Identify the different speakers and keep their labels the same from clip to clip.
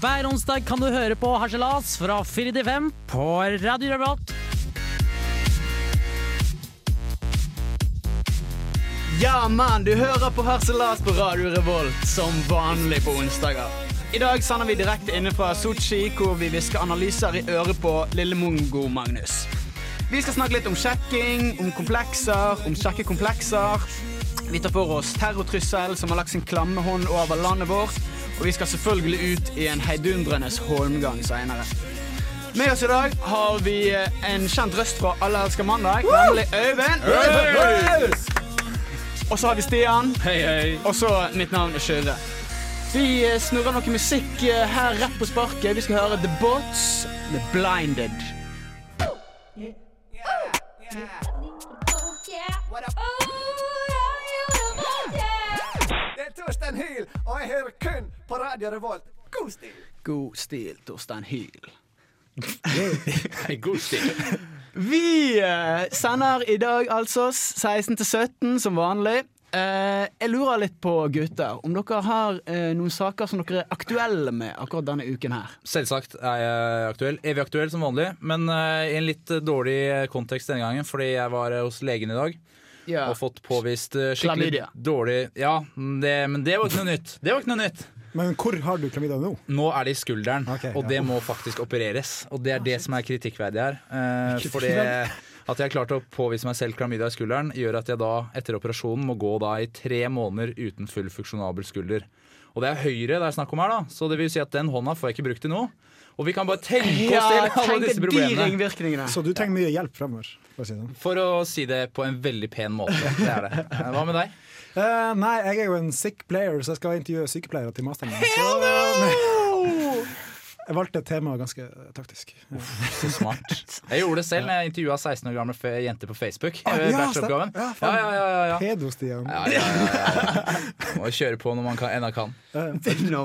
Speaker 1: Hver onsdag kan du høre på Harselas fra 4 til 5 på Radio Revolt.
Speaker 2: Ja, mann, du hører på Harselas på Radio Revolt som vanlig på onsdager. I dag sender vi direkte inne fra Sotsji, hvor vi hvisker analyser i øret på lille mongo Magnus. Vi skal snakke litt om sjekking, om komplekser, om kjekke komplekser. Vi tar for oss terrortrussel som har lagt sin klamme hånd over landet vårt. Og vi skal selvfølgelig ut i en heidundrendes holmgang seinere. Med oss i dag har vi eh, en kjent røst fra Alle elsker mandag, nemlig Øyvind. Og så har vi Stian.
Speaker 3: Hei, hei.
Speaker 2: Og så mitt navn er Kyrre. Vi eh, snurrer noe musikk eh, her rett på sparket. Vi skal høre The Bots med 'Blinded'.
Speaker 4: Det er Torstein Hyl, og jeg hører kun på Radio Revolt. God stil!
Speaker 2: God stil, Torstein Hyl.
Speaker 3: Hei, god stil.
Speaker 2: Vi eh, sender i dag altså s- 16 til 17 som vanlig. Eh, jeg lurer litt på, gutter, om dere har eh, noen saker som dere er aktuelle med akkurat denne uken her.
Speaker 5: Selvsagt er jeg aktuell. Evig aktuell som vanlig, men eh, i en litt eh, dårlig eh, kontekst denne gangen, fordi jeg var eh, hos legen i dag
Speaker 2: Ja.
Speaker 5: og fått påvist eh, skikkelig
Speaker 2: Klamydia.
Speaker 5: dårlig Ja, det, men det var ikke noe nytt. Det var ikke noe nytt.
Speaker 6: Men hvor har du klamydia nå?
Speaker 5: Nå er det i skulderen,
Speaker 6: Ok,
Speaker 5: og
Speaker 6: ja.
Speaker 5: det må faktisk opereres. Og det er det som er kritikkverdig her. eh, fordi at jeg har klart å påvise meg selv klamydia i skulderen, gjør at jeg da etter operasjonen må gå da i tre måneder uten full funksjonabel skulder. Og det er høyre det er snakk om her, da, så det vil si at den hånda får jeg ikke brukt til noe. Og vi kan bare tenke oss til
Speaker 2: Ja,
Speaker 5: alle
Speaker 2: tenk
Speaker 5: disse
Speaker 2: deg de
Speaker 5: problemene.
Speaker 2: ringvirkningene.
Speaker 6: Så du trenger mye hjelp fremover. for å si det sånn.
Speaker 5: For å si det på en veldig pen måte. Det er det. Eh, Hva med deg?
Speaker 6: Eh, nei, jeg er jo en sick player, så jeg skal intervjue sykepleiere til masteren. min, så- Jeg valgte et tema ganske eh, taktisk.
Speaker 5: Så smart. Jeg gjorde det selv når jeg intervjua 16 år gamle fe- jenter på Facebook.
Speaker 6: Ah,
Speaker 5: eh,
Speaker 6: ja, stemmer.
Speaker 5: bacheloroppgaven.
Speaker 6: Ja,
Speaker 5: Ja,
Speaker 6: faen.
Speaker 5: ja, ja, ja, ja.
Speaker 6: Pedo-Stian.
Speaker 5: Ja, ja, ja, ja, ja. Må kjøre på når man kan, ennå kan.
Speaker 2: Nå,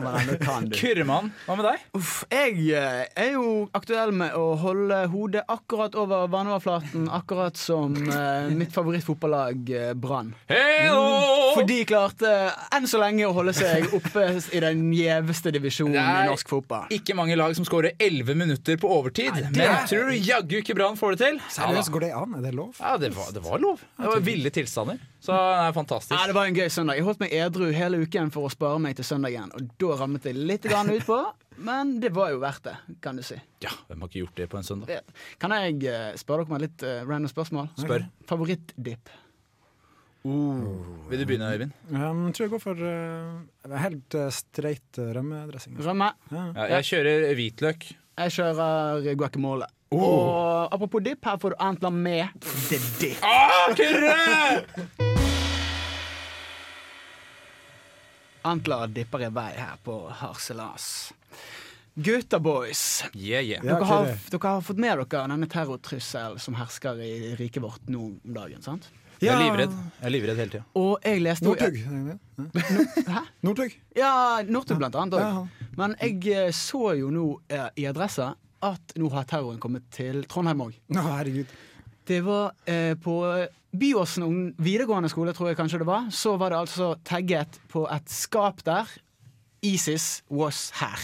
Speaker 2: men, nå kan du.
Speaker 5: Kurremann, hva med deg?
Speaker 2: Uff, jeg eh, er jo aktuell med å holde hodet akkurat over vannoverflaten, akkurat som eh, mitt favorittfotballag eh, Brann. For de klarte eh, enn så lenge å holde seg oppe i den gjeveste divisjonen
Speaker 5: Nei.
Speaker 2: i norsk fotball.
Speaker 5: Ikke mange lag som skårer 11 minutter på overtid, men jeg tror jaggu ikke Brann får det til. Ja,
Speaker 6: Seriøst,
Speaker 5: da.
Speaker 6: går det an? Er det lov?
Speaker 5: ja, det, var, det var lov. Det var ville tilstander. Så det er
Speaker 2: Ja, det
Speaker 5: fantastisk.
Speaker 2: var en gøy søndag. Jeg holdt meg edru hele uken for å spare meg til søndagen, og da ramlet jeg litt grann utpå. Men det var jo verdt det, kan du si.
Speaker 5: Ja, Hvem har ikke gjort det på en søndag?
Speaker 2: Det- Kan jeg eh, spørre dere om et litt eh, random spørsmål?
Speaker 5: Spør.
Speaker 2: Favorittdipp?
Speaker 5: Vil du begynne, Øyvind?
Speaker 6: Um, tror jeg går for eh, helt eh, streit eh, rømmedressing.
Speaker 2: Rømme.
Speaker 5: Ja, jeg kjører hvitløk.
Speaker 2: Jeg kjører guacamole.
Speaker 6: Oh.
Speaker 2: Og apropos dipp, her får du antler med the dip.
Speaker 5: Ah, kurre!
Speaker 2: Antler dipper i vei her på Harselas. Gutta boys,
Speaker 5: Yeah, yeah.
Speaker 6: Ja,
Speaker 2: dere, har,
Speaker 6: Kyrre.
Speaker 2: dere har fått med dere denne terrortrusselen som hersker i riket vårt nå om dagen. sant?
Speaker 5: Jeg er livredd Jeg er livredd hele tida.
Speaker 2: Og jeg leste
Speaker 6: Northug. er det det? Hæ? Northug.
Speaker 2: Ja, Northug blant annet
Speaker 6: Ja.
Speaker 2: òg. Men jeg eh, så jo nå eh, i Adressa at nå har terroren kommet til Trondheim òg.
Speaker 6: Nå, herregud.
Speaker 2: Det var eh, på Byåsen ung- videregående skole, tror jeg kanskje det var. Så var det altså tagget på et skap der. ISIS was her.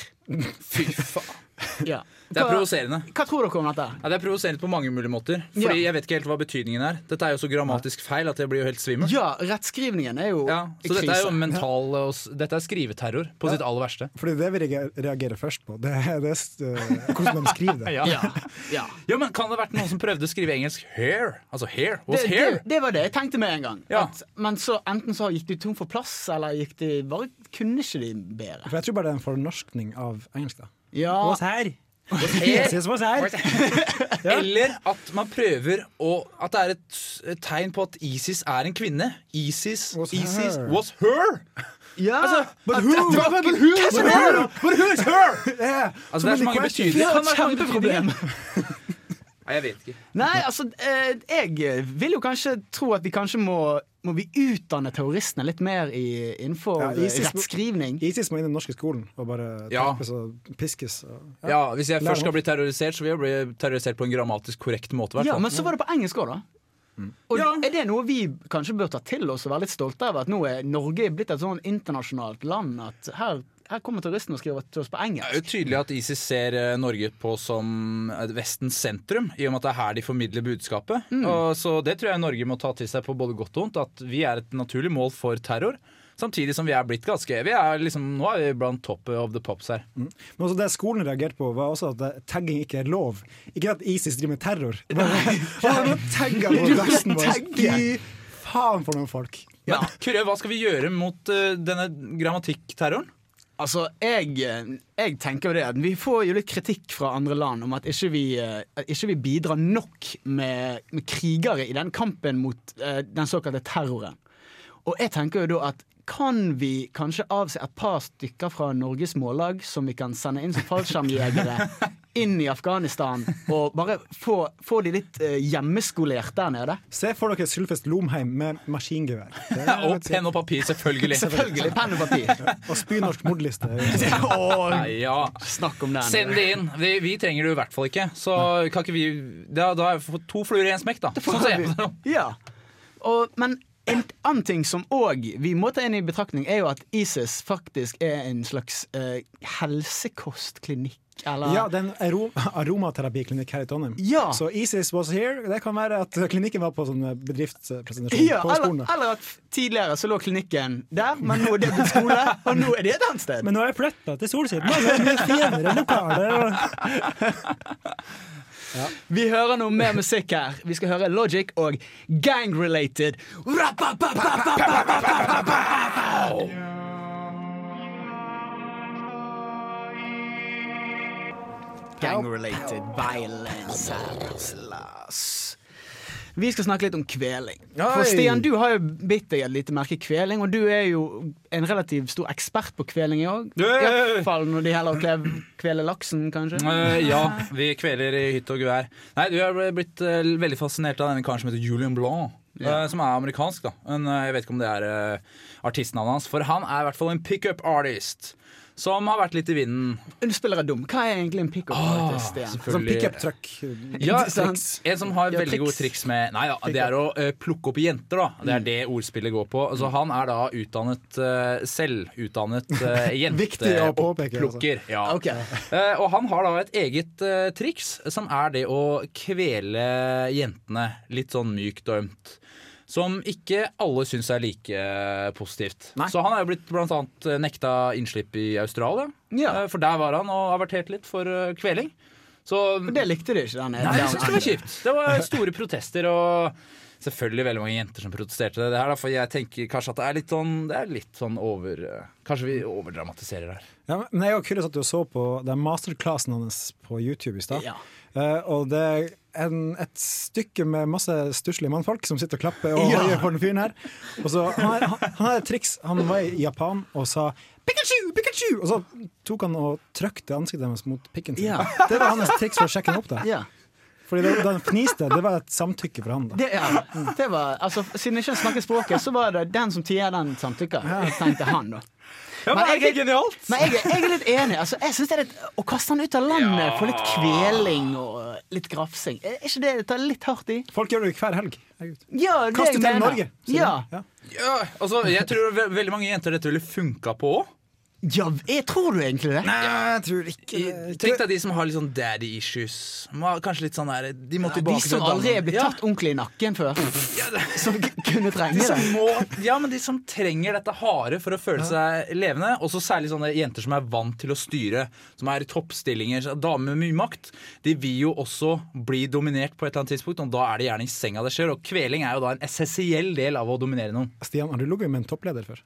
Speaker 5: Fy faen.
Speaker 2: Ja.
Speaker 5: Det er provoserende.
Speaker 2: Hva tror dere om dette?
Speaker 5: Ja, det er provoserende på mange mulige måter. Fordi
Speaker 2: Ja.
Speaker 5: jeg vet ikke helt hva betydningen er. Dette er jo så grammatisk feil at jeg blir jo helt svimmel.
Speaker 2: Ja, rettskrivningen er jo
Speaker 5: Ja, så
Speaker 2: krise.
Speaker 5: dette er jo mental eh, og s- Dette er skriveterror på sitt aller verste.
Speaker 6: For det er det vi reager- reagerer først på. Det er det, s- eh, hvordan de skriver det.
Speaker 2: ja. ja.
Speaker 5: Ja, men Kan det ha vært noen som prøvde å skrive engelsk 'hair'? Altså 'hair was
Speaker 2: Det, det,
Speaker 5: hair'?
Speaker 2: det var det jeg tenkte med en gang.
Speaker 5: Ja.
Speaker 2: At, men så enten så gikk de tom for plass, eller gikk de bare Kunne ikke de bedre?
Speaker 6: For jeg tror bare det er en fornorskning av engelsk. da.
Speaker 2: Ja,
Speaker 6: her.
Speaker 5: Hair.
Speaker 6: oss her.
Speaker 5: Eller at man prøver å At det er et tegn på at ISIS er en kvinne. ISIS was,
Speaker 6: Was
Speaker 5: ISIS her.
Speaker 6: her.
Speaker 5: was her!
Speaker 2: ja.
Speaker 5: Altså,
Speaker 6: But
Speaker 5: at-
Speaker 6: who?
Speaker 5: det var-
Speaker 6: But who?
Speaker 5: Hva som
Speaker 6: But
Speaker 5: er
Speaker 6: who?
Speaker 5: her? But who is her?
Speaker 6: Yeah.
Speaker 5: Altså, det er så mange betydninger.
Speaker 6: questions.
Speaker 2: det var
Speaker 5: kan være
Speaker 2: et
Speaker 5: mange
Speaker 2: kjempeproblem.
Speaker 5: Nei, jeg vet ikke.
Speaker 2: Nei, altså, eh, jeg vil jo kanskje tro at vi kanskje må, må vi utdanne terroristene litt mer i, innenfor
Speaker 6: Ja,
Speaker 2: eh,
Speaker 6: ISIS må-
Speaker 2: rettskrivning.
Speaker 6: ISIS må inn i den norske skolen og bare
Speaker 5: Ja.
Speaker 6: terpes og piskes. Og,
Speaker 5: Ja, Hvis jeg
Speaker 6: Lær
Speaker 5: først skal
Speaker 6: opp.
Speaker 5: bli terrorisert, så vil jeg bli terrorisert på en grammatisk korrekt måte.
Speaker 2: Ja,
Speaker 5: hvertfall.
Speaker 2: men så var det på engelsk òg, da. Og Er det noe vi kanskje bør ta til oss og være litt stolte av? At nå er Norge blitt et sånn internasjonalt land at her, her kommer terroristen og skriver til oss på
Speaker 5: Det er
Speaker 2: engelsk.
Speaker 5: jo tydelig at ISIS ser eh, Norge på som eh, Vestens sentrum, i og med at det er her de formidler budskapet.
Speaker 6: Mm.
Speaker 5: Og så det tror jeg Norge må ta til seg på både godt og vondt, at vi er et naturlig mål for terror. Samtidig som vi er blitt ganske vi er liksom, Nå er vi blant topp of the pops her.
Speaker 6: Men også det skolen reagerte på, var også at eh, tagging ikke er lov. Ikke at ISIS driver med terror. Det var- Å, Nå tagger på dassen vår! Fy faen for noen folk.
Speaker 5: Men Kyrre, hva skal vi gjøre mot eh, denne grammatikk-terroren?
Speaker 2: Altså, jeg, jeg tenker jo det at vi får jo litt kritikk fra andre land om at ikke vi, eh, at ikke vi bidrar nok med, med krigere i den kampen mot eh, den såkalte terroren. Og jeg tenker jo da at kan vi kanskje avse et par stykker fra Norges mållag som vi kan sende inn som fallskjermjegere inn i Afghanistan, og bare få, få de litt eh, hjemmeskolert der nede?
Speaker 6: Se for dere Sylfest Lomheim med maskingevær. Det er-
Speaker 5: Og penn og papir, selvfølgelig.
Speaker 2: Selvfølgelig. Penn og papir.
Speaker 6: Og spynorsk mordliste.
Speaker 2: Åh,
Speaker 5: Ja.
Speaker 2: snakk om den.
Speaker 5: Send det inn. Vi, vi trenger det jo i hvert fall ikke. Så kan ikke vi Da, da har jeg fått to fluer i én smekk, da. Sånn ser jeg på det.
Speaker 2: Ja. Og, men en annen ting som òg vi må ta inn i betraktning, er jo at ISIS faktisk er en slags eh, helsekostklinikk. Eller
Speaker 6: Ja, det er en aro- aromaterapiklinikk her i Trondheim.
Speaker 2: Ah. Ja.
Speaker 6: Så ISIS was here. Det kan være at klinikken var på sånn bedriftspresentasjon
Speaker 2: Ja,
Speaker 6: på
Speaker 2: eller,
Speaker 6: skolen. da.
Speaker 2: eller at tidligere så lå klinikken der, men nå er det blitt skole, og nå er det et annet sted.
Speaker 6: Men nå er jeg flytta til Solsiden, og det er mye finere lokaler.
Speaker 2: Vi hører noe mer musikk her. Vi skal høre Logic og gang-related. Gang-related violence. Lars. Vi skal snakke litt om kveling. For
Speaker 6: Oi.
Speaker 2: Stian, du har jo bitt deg et lite merke kveling, og du er jo en relativt stor ekspert på kveling i år.
Speaker 5: Hey!
Speaker 2: Iallfall når det gjelder å kle- kvele laksen, kanskje.
Speaker 5: Eh, ja, vi kveler i hytte og gevær. Nei, du jeg ble blitt eh, veldig fascinert av denne karen som heter Julian Blanc. eh, som er amerikansk, da. Men eh, jeg vet ikke om det er eh, artistnavnet hans. For han er i hvert fall en pickup artist. Som har vært litt i vinden.
Speaker 2: Spiller er dum. Hva er egentlig en pickup artist? Stian?
Speaker 6: Sånn
Speaker 5: selvfølgelig.
Speaker 6: pickup truck.
Speaker 5: Ja,
Speaker 2: Triks.
Speaker 5: en som har
Speaker 2: Ja,
Speaker 5: veldig gode
Speaker 2: triks.
Speaker 5: triks med Nei da, det er å eh, plukke opp jenter, da. Det er det ordspillet går på. Så han er da utdannet eh, selvutdannet uh,
Speaker 6: Viktig å påpeke, altså.
Speaker 5: jenteopplukker. Ja.
Speaker 2: Ok.
Speaker 5: Eh, og han har da et eget eh, triks, som er det å kvele jentene litt sånn mykt og ømt. Som ikke alle syns er like eh, positivt.
Speaker 6: Nei.
Speaker 5: Så han er jo blitt blant annet eh, nekta innslipp i Australia.
Speaker 2: Ja.
Speaker 5: Eh, For der var han og averterte litt for eh, kveling. Så
Speaker 2: Men Det likte du ikke, den
Speaker 5: Nei, jeg syns det var kjipt. Det var store protester og selvfølgelig veldig mange jenter som protesterte det her, da, for jeg tenker kanskje at det er litt sånn, det er litt sånn over Kanskje vi overdramatiserer her.
Speaker 6: Ja, men jeg og Kyrre satt jo og så på den masterclassen hans på YouTube i stad.
Speaker 2: Ja.
Speaker 6: Eh, og det er en, et stykke med masse stusslige mannfolk som sitter og klapper og
Speaker 2: Ja.
Speaker 6: hoier for den fyren her. Og så, han, har- han, han har et triks. Han var i Japan og sa 'Pikachu! Pikachu!' Og så tok han og trykte ansiktet deres mot pikken sin.
Speaker 2: Ja.
Speaker 6: Det var hans triks for å sjekke han opp. Det.
Speaker 2: Ja.
Speaker 6: Fordi det, da han fniste, det var et samtykke fra han. Da.
Speaker 2: Det, ja. det var, altså, siden jeg ikke snakker språket, så var det den som tier, den samtykker. Tenkte han, da. men er ikke
Speaker 5: genialt?
Speaker 2: Men jeg, er- jeg er litt enig. Altså, jeg synes det er litt, Å kaste han ut av landet for litt kveling og litt grafsing, er ikke det å ta litt hardt i?
Speaker 6: Folk gjør det jo hver helg. Herregud.
Speaker 2: Ja, det
Speaker 6: Kast
Speaker 2: jeg
Speaker 6: ut hele
Speaker 2: mener.
Speaker 6: Norge! sier de.
Speaker 2: Ja.
Speaker 6: Ja.
Speaker 5: Ja, altså, jeg tror ve veldig mange jenter dette ville funka på òg.
Speaker 2: ja, jeg tror du egentlig det?
Speaker 6: Jeg tror ikke
Speaker 2: Eh,
Speaker 5: Tenk deg de som har litt sånn daddy issues. Må ha Kanskje litt sånn der, De må
Speaker 2: De
Speaker 5: tilbake
Speaker 2: som
Speaker 5: til
Speaker 2: aldri er blitt
Speaker 5: Ja.
Speaker 2: tatt ordentlig i nakken før, som kunne
Speaker 5: De
Speaker 2: trenge
Speaker 5: som,
Speaker 2: det.
Speaker 5: må, ja, men de som trenger dette harde for å føle seg levende. Og så særlig sånne jenter som er vant til å styre, som er i toppstillinger. så Damer med mye makt de vil jo også bli dominert på et eller annet tidspunkt, og da er det gjerne i senga det skjer. Og kveling er jo da en essensiell del av å dominere noen.
Speaker 6: Stian, har du ligget med en toppleder før?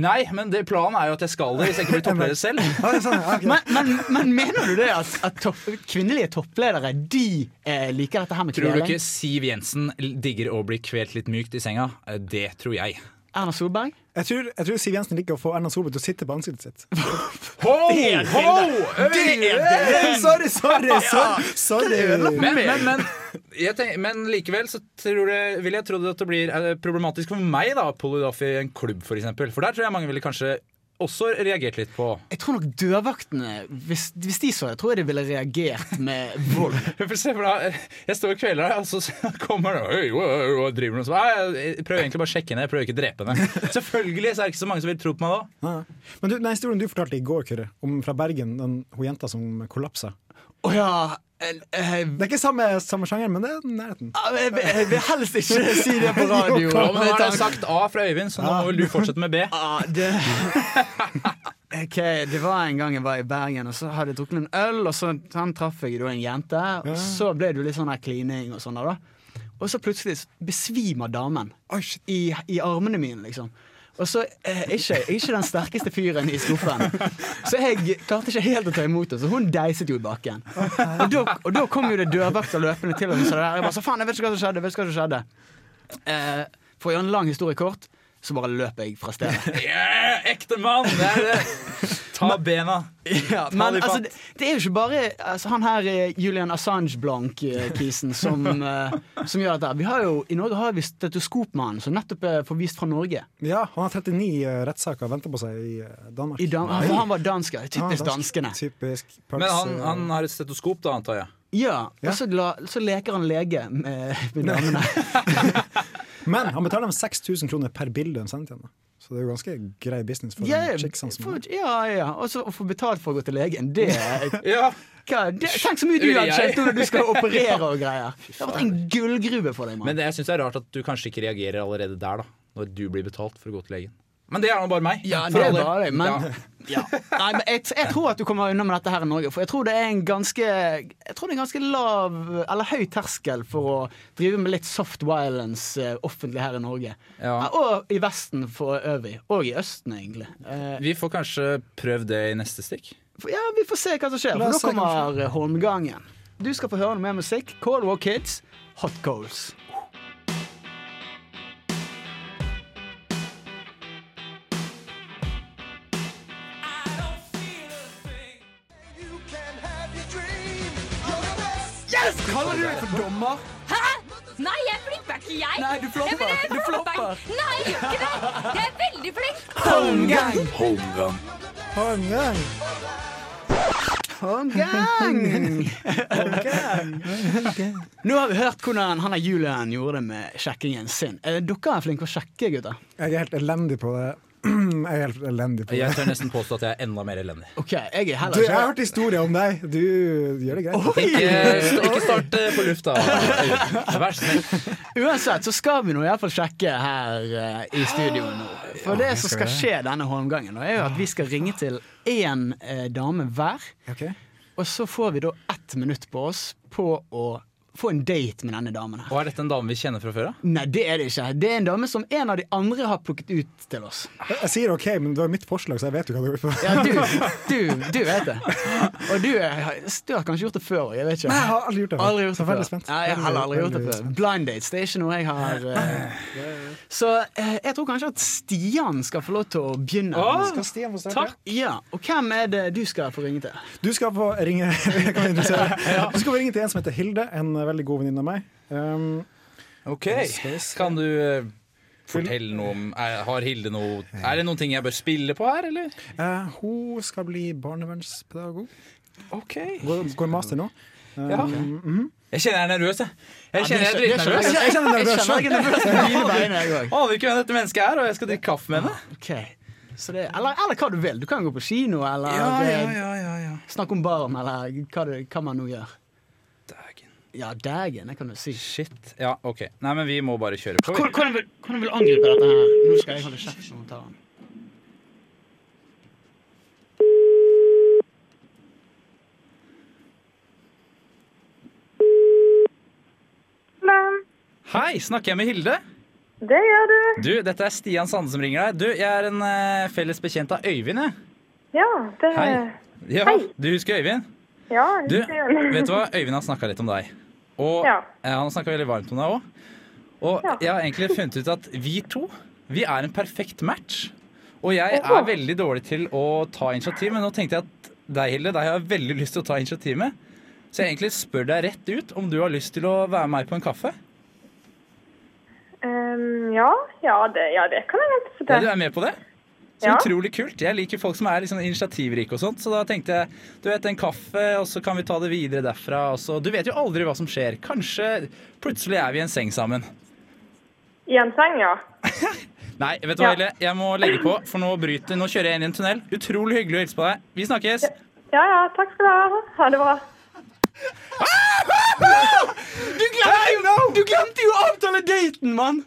Speaker 5: Nei, men det, planen er jo at jeg skal det, hvis jeg ikke blir toppleder selv.
Speaker 6: Ja, det er sånn, ja, ok.
Speaker 2: Men, men, men mener du det at, at topp, kvinnelige toppledere De eh, liker dette her med
Speaker 5: Tror du
Speaker 2: kveling?
Speaker 5: ikke Siv Jensen digger å bli kvelt litt mykt i senga? Eh, Det tror jeg.
Speaker 2: Erna Solberg?
Speaker 6: Jeg tror, jeg tror Siv Jensen liker å få Erna Solberg til å sitte på ansiktet sitt.
Speaker 5: Ho, ho!
Speaker 6: Hey,
Speaker 5: altså
Speaker 6: sorry, sorry! sorry, sorry.
Speaker 5: Men, men, men, jeg tenk, men likevel så tror jeg, vil jeg tro at det blir eh, problematisk for meg da, å pulle det off i en klubb, f.eks. For, eksempel. for der tror jeg mange ville kanskje også reagert litt på.
Speaker 2: Jeg tror nok dørvaktene, hvis, hvis de så det, tror jeg de ville reagert med vold.
Speaker 5: For se for deg, jeg står og kveler deg, og så kommer han og jo, jo, jo, og driver noe sånt. Nei, Jeg prøver egentlig bare å sjekke henne, jeg prøver ikke å drepe henne. Selvfølgelig så er det ikke så mange som vil tro på meg da.
Speaker 6: Nei. Men du, den historien du fortalte i går, Kyrre, om fra Bergen, den hun jenta som kollapsa
Speaker 2: Å ja eh, eh,
Speaker 6: Det er ikke samme, samme sjanger, men det er nærheten.
Speaker 2: Jeg vil- jeg vil helst ikke si det på radio.
Speaker 5: Ja, men
Speaker 2: med
Speaker 5: nå har jeg
Speaker 2: tanke-
Speaker 5: sagt A fra Øyvind, så nå må vel du fortsette med B.
Speaker 2: Ah, det Ok, det var en gang jeg var i Bergen, og så hadde jeg drukket en øl, og så sånn, traff jeg da en jente, og så ble det jo litt sånn her klining og sånn der, da. Og så plutselig s- besvimer damen
Speaker 6: Oi, shit.
Speaker 2: i, i armene mine, liksom. Og så eh, er ikke, er ikke den sterkeste fyren i skuffen. Så jeg klarte ikke helt å ta imot det, så hun deiset jo i bakken. Og da, og da kom jo det dørvakter løpende til henne. og sa det her. Jeg bare sa faen, jeg vet ikke hva som skjedde. Jeg vet ikke hva som skjedde. Eh, for å gjøre en lang historie kort, så bare løp jeg fra stedet.
Speaker 5: Yeah, ekte mann! Det er det. Ta bena.
Speaker 2: Ja,
Speaker 5: Ta
Speaker 2: men
Speaker 5: de
Speaker 2: altså,
Speaker 5: fatt.
Speaker 2: det, det er jo ikke bare altså, han her eh, Julian Assange-Blank-kisen som, eh, som gjør dette. Vi har jo, I Norge har vi stetoskopmannen som nettopp er forvist fra Norge.
Speaker 6: Ja, han har 39 rettssaker venter på seg i eh, Danmark.
Speaker 2: I Dan
Speaker 6: Nei.
Speaker 2: for han var dansk, ja.
Speaker 6: Han er
Speaker 2: Typisk
Speaker 6: dansk.
Speaker 2: danskene.
Speaker 6: Typisk pølse.
Speaker 5: Men han, han har et stetoskop, da, antar jeg.
Speaker 2: Ja,
Speaker 6: Ja.
Speaker 2: Og så, la, så leker han lege med, med damene.
Speaker 6: Men han betaler dem 6000 kroner per bilde de sender til henne. Så det er jo ganske grei business for
Speaker 2: Ja,
Speaker 6: yeah,
Speaker 2: ja,
Speaker 6: chicksen som
Speaker 2: for- ja, ja. Og så å få betalt for å gå til legen, det, er-
Speaker 5: Ja,
Speaker 2: hva, det Tenk så mye du hadde
Speaker 5: Jeg-
Speaker 2: kjent når du skal operere og greier. Det har vært en gullgruve for deg,
Speaker 5: Men
Speaker 2: mann.
Speaker 5: det, jeg syns det er rart at du kanskje ikke reagerer allerede der, da. Når du blir betalt for å gå til legen. Men det er nå bare meg.
Speaker 2: Ja,
Speaker 5: For
Speaker 2: det er
Speaker 5: alle.
Speaker 2: bare det, men
Speaker 5: Ja.
Speaker 2: ja. Nei, men jeg, jeg tror at du kommer unna med dette her i Norge. For jeg tror det er en ganske Jeg tror det er en ganske lav eller høy terskel for å drive med litt soft violence eh, offentlig her i Norge.
Speaker 5: Ja.
Speaker 2: Og i Vesten for øvrig. Og i Østen, egentlig. Eh,
Speaker 5: Vi får kanskje prøvd det i neste stikk.
Speaker 2: for, ja, vi får se hva som skjer.
Speaker 6: La
Speaker 2: For nå
Speaker 6: oss se hva som
Speaker 2: kommer eh, Holmgangen. Du skal få høre noe mer musikk. Coldwell Kids, Hot Goals.
Speaker 4: You can have your dream. You're the best.
Speaker 2: Kaller du deg for dommer?
Speaker 7: Hæ? Nei, jeg flipper ikke, jeg.
Speaker 2: Nei, du flopper.
Speaker 7: Ja, men jeg
Speaker 2: Du flopper.
Speaker 7: ikke. Nei, jeg gjør ikke det. Jeg er veldig flink.
Speaker 2: Holmgang!
Speaker 6: Holmgang!
Speaker 2: Holmgang! Nå har vi hørt hvordan han der Julian gjorde det med sjekkingen sin. Eh, Dere er flinke å sjekke, gutter.
Speaker 6: Jeg er helt elendig på det. Jeg er helt elendig på det.
Speaker 5: Jeg tør nesten påstå at jeg er enda mer elendig.
Speaker 2: Ok, jeg er
Speaker 6: Du,
Speaker 2: heller
Speaker 6: jeg har
Speaker 2: ikke
Speaker 6: hørt historier om deg. Du gjør det greit.
Speaker 5: Ikke, ikke start eh, på lufta. Vær så snill.
Speaker 2: Uansett så skal vi nå iallfall sjekke her eh, i studio nå. For det som skal skje denne holmgangen, nå, er jo at vi skal ringe til én eh, dame hver.
Speaker 6: Ok.
Speaker 2: Og så får vi da ett minutt på oss på å få en date med denne damen her.
Speaker 5: Og er dette en dame vi kjenner fra før av?
Speaker 2: Nei, det er det ikke. Det er en dame som en av de andre har plukket ut til oss.
Speaker 6: Jeg, jeg sier OK, men det var mitt forslag, så jeg vet jo hva du går på.
Speaker 2: Ja, du, du, du vet det. Og du, er- du har kanskje gjort det før òg, jeg vet ikke.
Speaker 6: Nei, jeg har aldri gjort det før.
Speaker 2: Aldri gjort
Speaker 6: Så
Speaker 2: det
Speaker 6: jeg er veldig
Speaker 2: før.
Speaker 6: spent.
Speaker 2: Nei, jeg har heller aldri gjort det før.
Speaker 6: Veldig
Speaker 2: Blind dates, det er ikke noe jeg har eh. Så eh, jeg tror kanskje at Stian skal få lov til å begynne.
Speaker 6: Skal Stian få
Speaker 5: Takk.
Speaker 6: starte?
Speaker 2: Ja, Og hvem er det du skal få ringe til?
Speaker 6: Du skal få ringe Jeg kan introdusere. Du skal få ringe til en som heter Hilde, en veldig god venninne av meg. Um,
Speaker 5: Ok, Kan du eh, fortelle noe om er, Har Hilde noe Er det noen ting jeg bør spille på her, eller?
Speaker 6: eh, hun skal bli barnevernspedagog.
Speaker 5: Ok Mhm.
Speaker 6: Går, går master nå. Um,
Speaker 5: Ja. Jeg kjenner jeg er nervøs, jeg. Jeg kjenner jeg er
Speaker 2: det skjønner jeg.
Speaker 5: dritnervøs.
Speaker 6: Jeg kjenner
Speaker 2: Jeg
Speaker 6: nervøs
Speaker 2: kjenner jeg er nervøs på mine vegne, jeg òg.
Speaker 5: Aner ikke hvem dette mennesket er, og jeg skal drikke kaffe med henne.
Speaker 2: Eller, eller hva du vil. Du kan gå på kino, eller eh, snakke om barn, eller hva, du, hva man nå gjør.
Speaker 5: Dægen.
Speaker 2: Ja, dægen, det kan du si.
Speaker 5: Shit. Ja, OK. Nei, men vi må bare kjøre på. vi.
Speaker 2: Hvordan vil, hvordan vil du angripe dette her? Nå skal jeg holde kjeft når hun tar den.
Speaker 5: Hei, snakker jeg med Hilde?
Speaker 8: Det gjør du.
Speaker 5: Du, dette er Stian Sande som ringer deg. Du, jeg er en eh, felles bekjent av Øyvind, jeg.
Speaker 8: Ja, det
Speaker 5: Hei. Ja, du husker Øyvind?
Speaker 8: Ja,
Speaker 5: Du,
Speaker 8: jeg husker den.
Speaker 5: vet du hva? Øyvind har snakka litt om deg. Og
Speaker 8: Ja.
Speaker 5: eh, han har snakka veldig varmt om deg òg. Og
Speaker 8: Ja.
Speaker 5: jeg har egentlig funnet ut at vi to, vi er en perfekt match. Og jeg er veldig dårlig til å ta initiativ, men nå tenkte jeg at deg, Hilde, deg har jeg veldig lyst til å ta initiativ med. Så jeg egentlig spør deg rett ut om du har lyst til å være med meg på en kaffe.
Speaker 8: Ehm, ja, ja, det, ja, det kan jeg vente seg
Speaker 5: Ja, du
Speaker 8: til.
Speaker 5: er med på det? Så
Speaker 8: Ja.
Speaker 5: utrolig kult. Jeg liker folk som er liksom initiativrike og sånt. Så da tenkte jeg du vet, en kaffe, og så kan vi ta det videre derfra. Og så, du vet jo aldri hva som skjer. Kanskje plutselig er vi i en seng sammen.
Speaker 8: I en seng, ja.
Speaker 5: Nei, vet du hva,
Speaker 8: Ja.
Speaker 5: Helle? Jeg må legge på, for nå bryter Nå kjører jeg inn i en tunnel. Utrolig hyggelig å hilse på deg. Vi snakkes.
Speaker 8: Ja ja, takk skal du ha. Ha det bra.
Speaker 2: Du glemte jo å avtale daten, mann!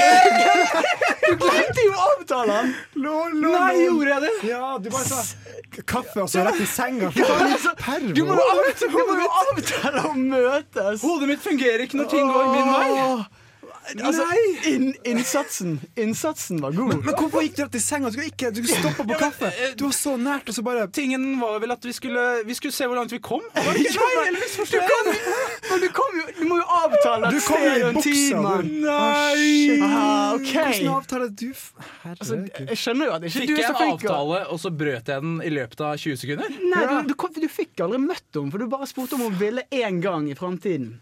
Speaker 2: Nei! Du glemte jo å avtale den! Nei, gjorde jeg det?
Speaker 6: Ja, du bare sa k- kaffe, og så rett i senga. For faen, pervo.
Speaker 2: Du må jo avtale, du må jo avtale å møtes!
Speaker 5: Hodet mitt fungerer ikke når ting går min vei.
Speaker 2: Åh. Altså, inn- innsatsen Innsatsen var god.
Speaker 6: Men hvorfor gikk du rett i senga? Du skulle ikke du skulle stoppe på kaffe.
Speaker 2: eh,
Speaker 6: Du var så nært, og så bare
Speaker 5: Tingen var vel at vi skulle, vi skulle se hvor langt vi kom.
Speaker 2: Nei, du kom, men du kom jo Du må jo avtale
Speaker 6: Du
Speaker 2: et
Speaker 6: kom jo
Speaker 2: sted
Speaker 6: i
Speaker 2: og en tid,
Speaker 6: buksa,
Speaker 2: mann.
Speaker 6: du.
Speaker 5: Nei!
Speaker 2: Ah, OK.
Speaker 6: Hvordan avtale du f-
Speaker 2: Altså,
Speaker 6: Herregud.
Speaker 2: jeg skjønner jo at ikke
Speaker 5: Fikk
Speaker 2: du er
Speaker 5: jeg
Speaker 2: så
Speaker 5: en
Speaker 2: flink. og-
Speaker 5: avtale, og så brøt jeg den i løpet av 20 sekunder?
Speaker 2: Nei, du, du, kom, du fikk aldri møtt henne, for du bare spurte om hun ville én gang i framtiden.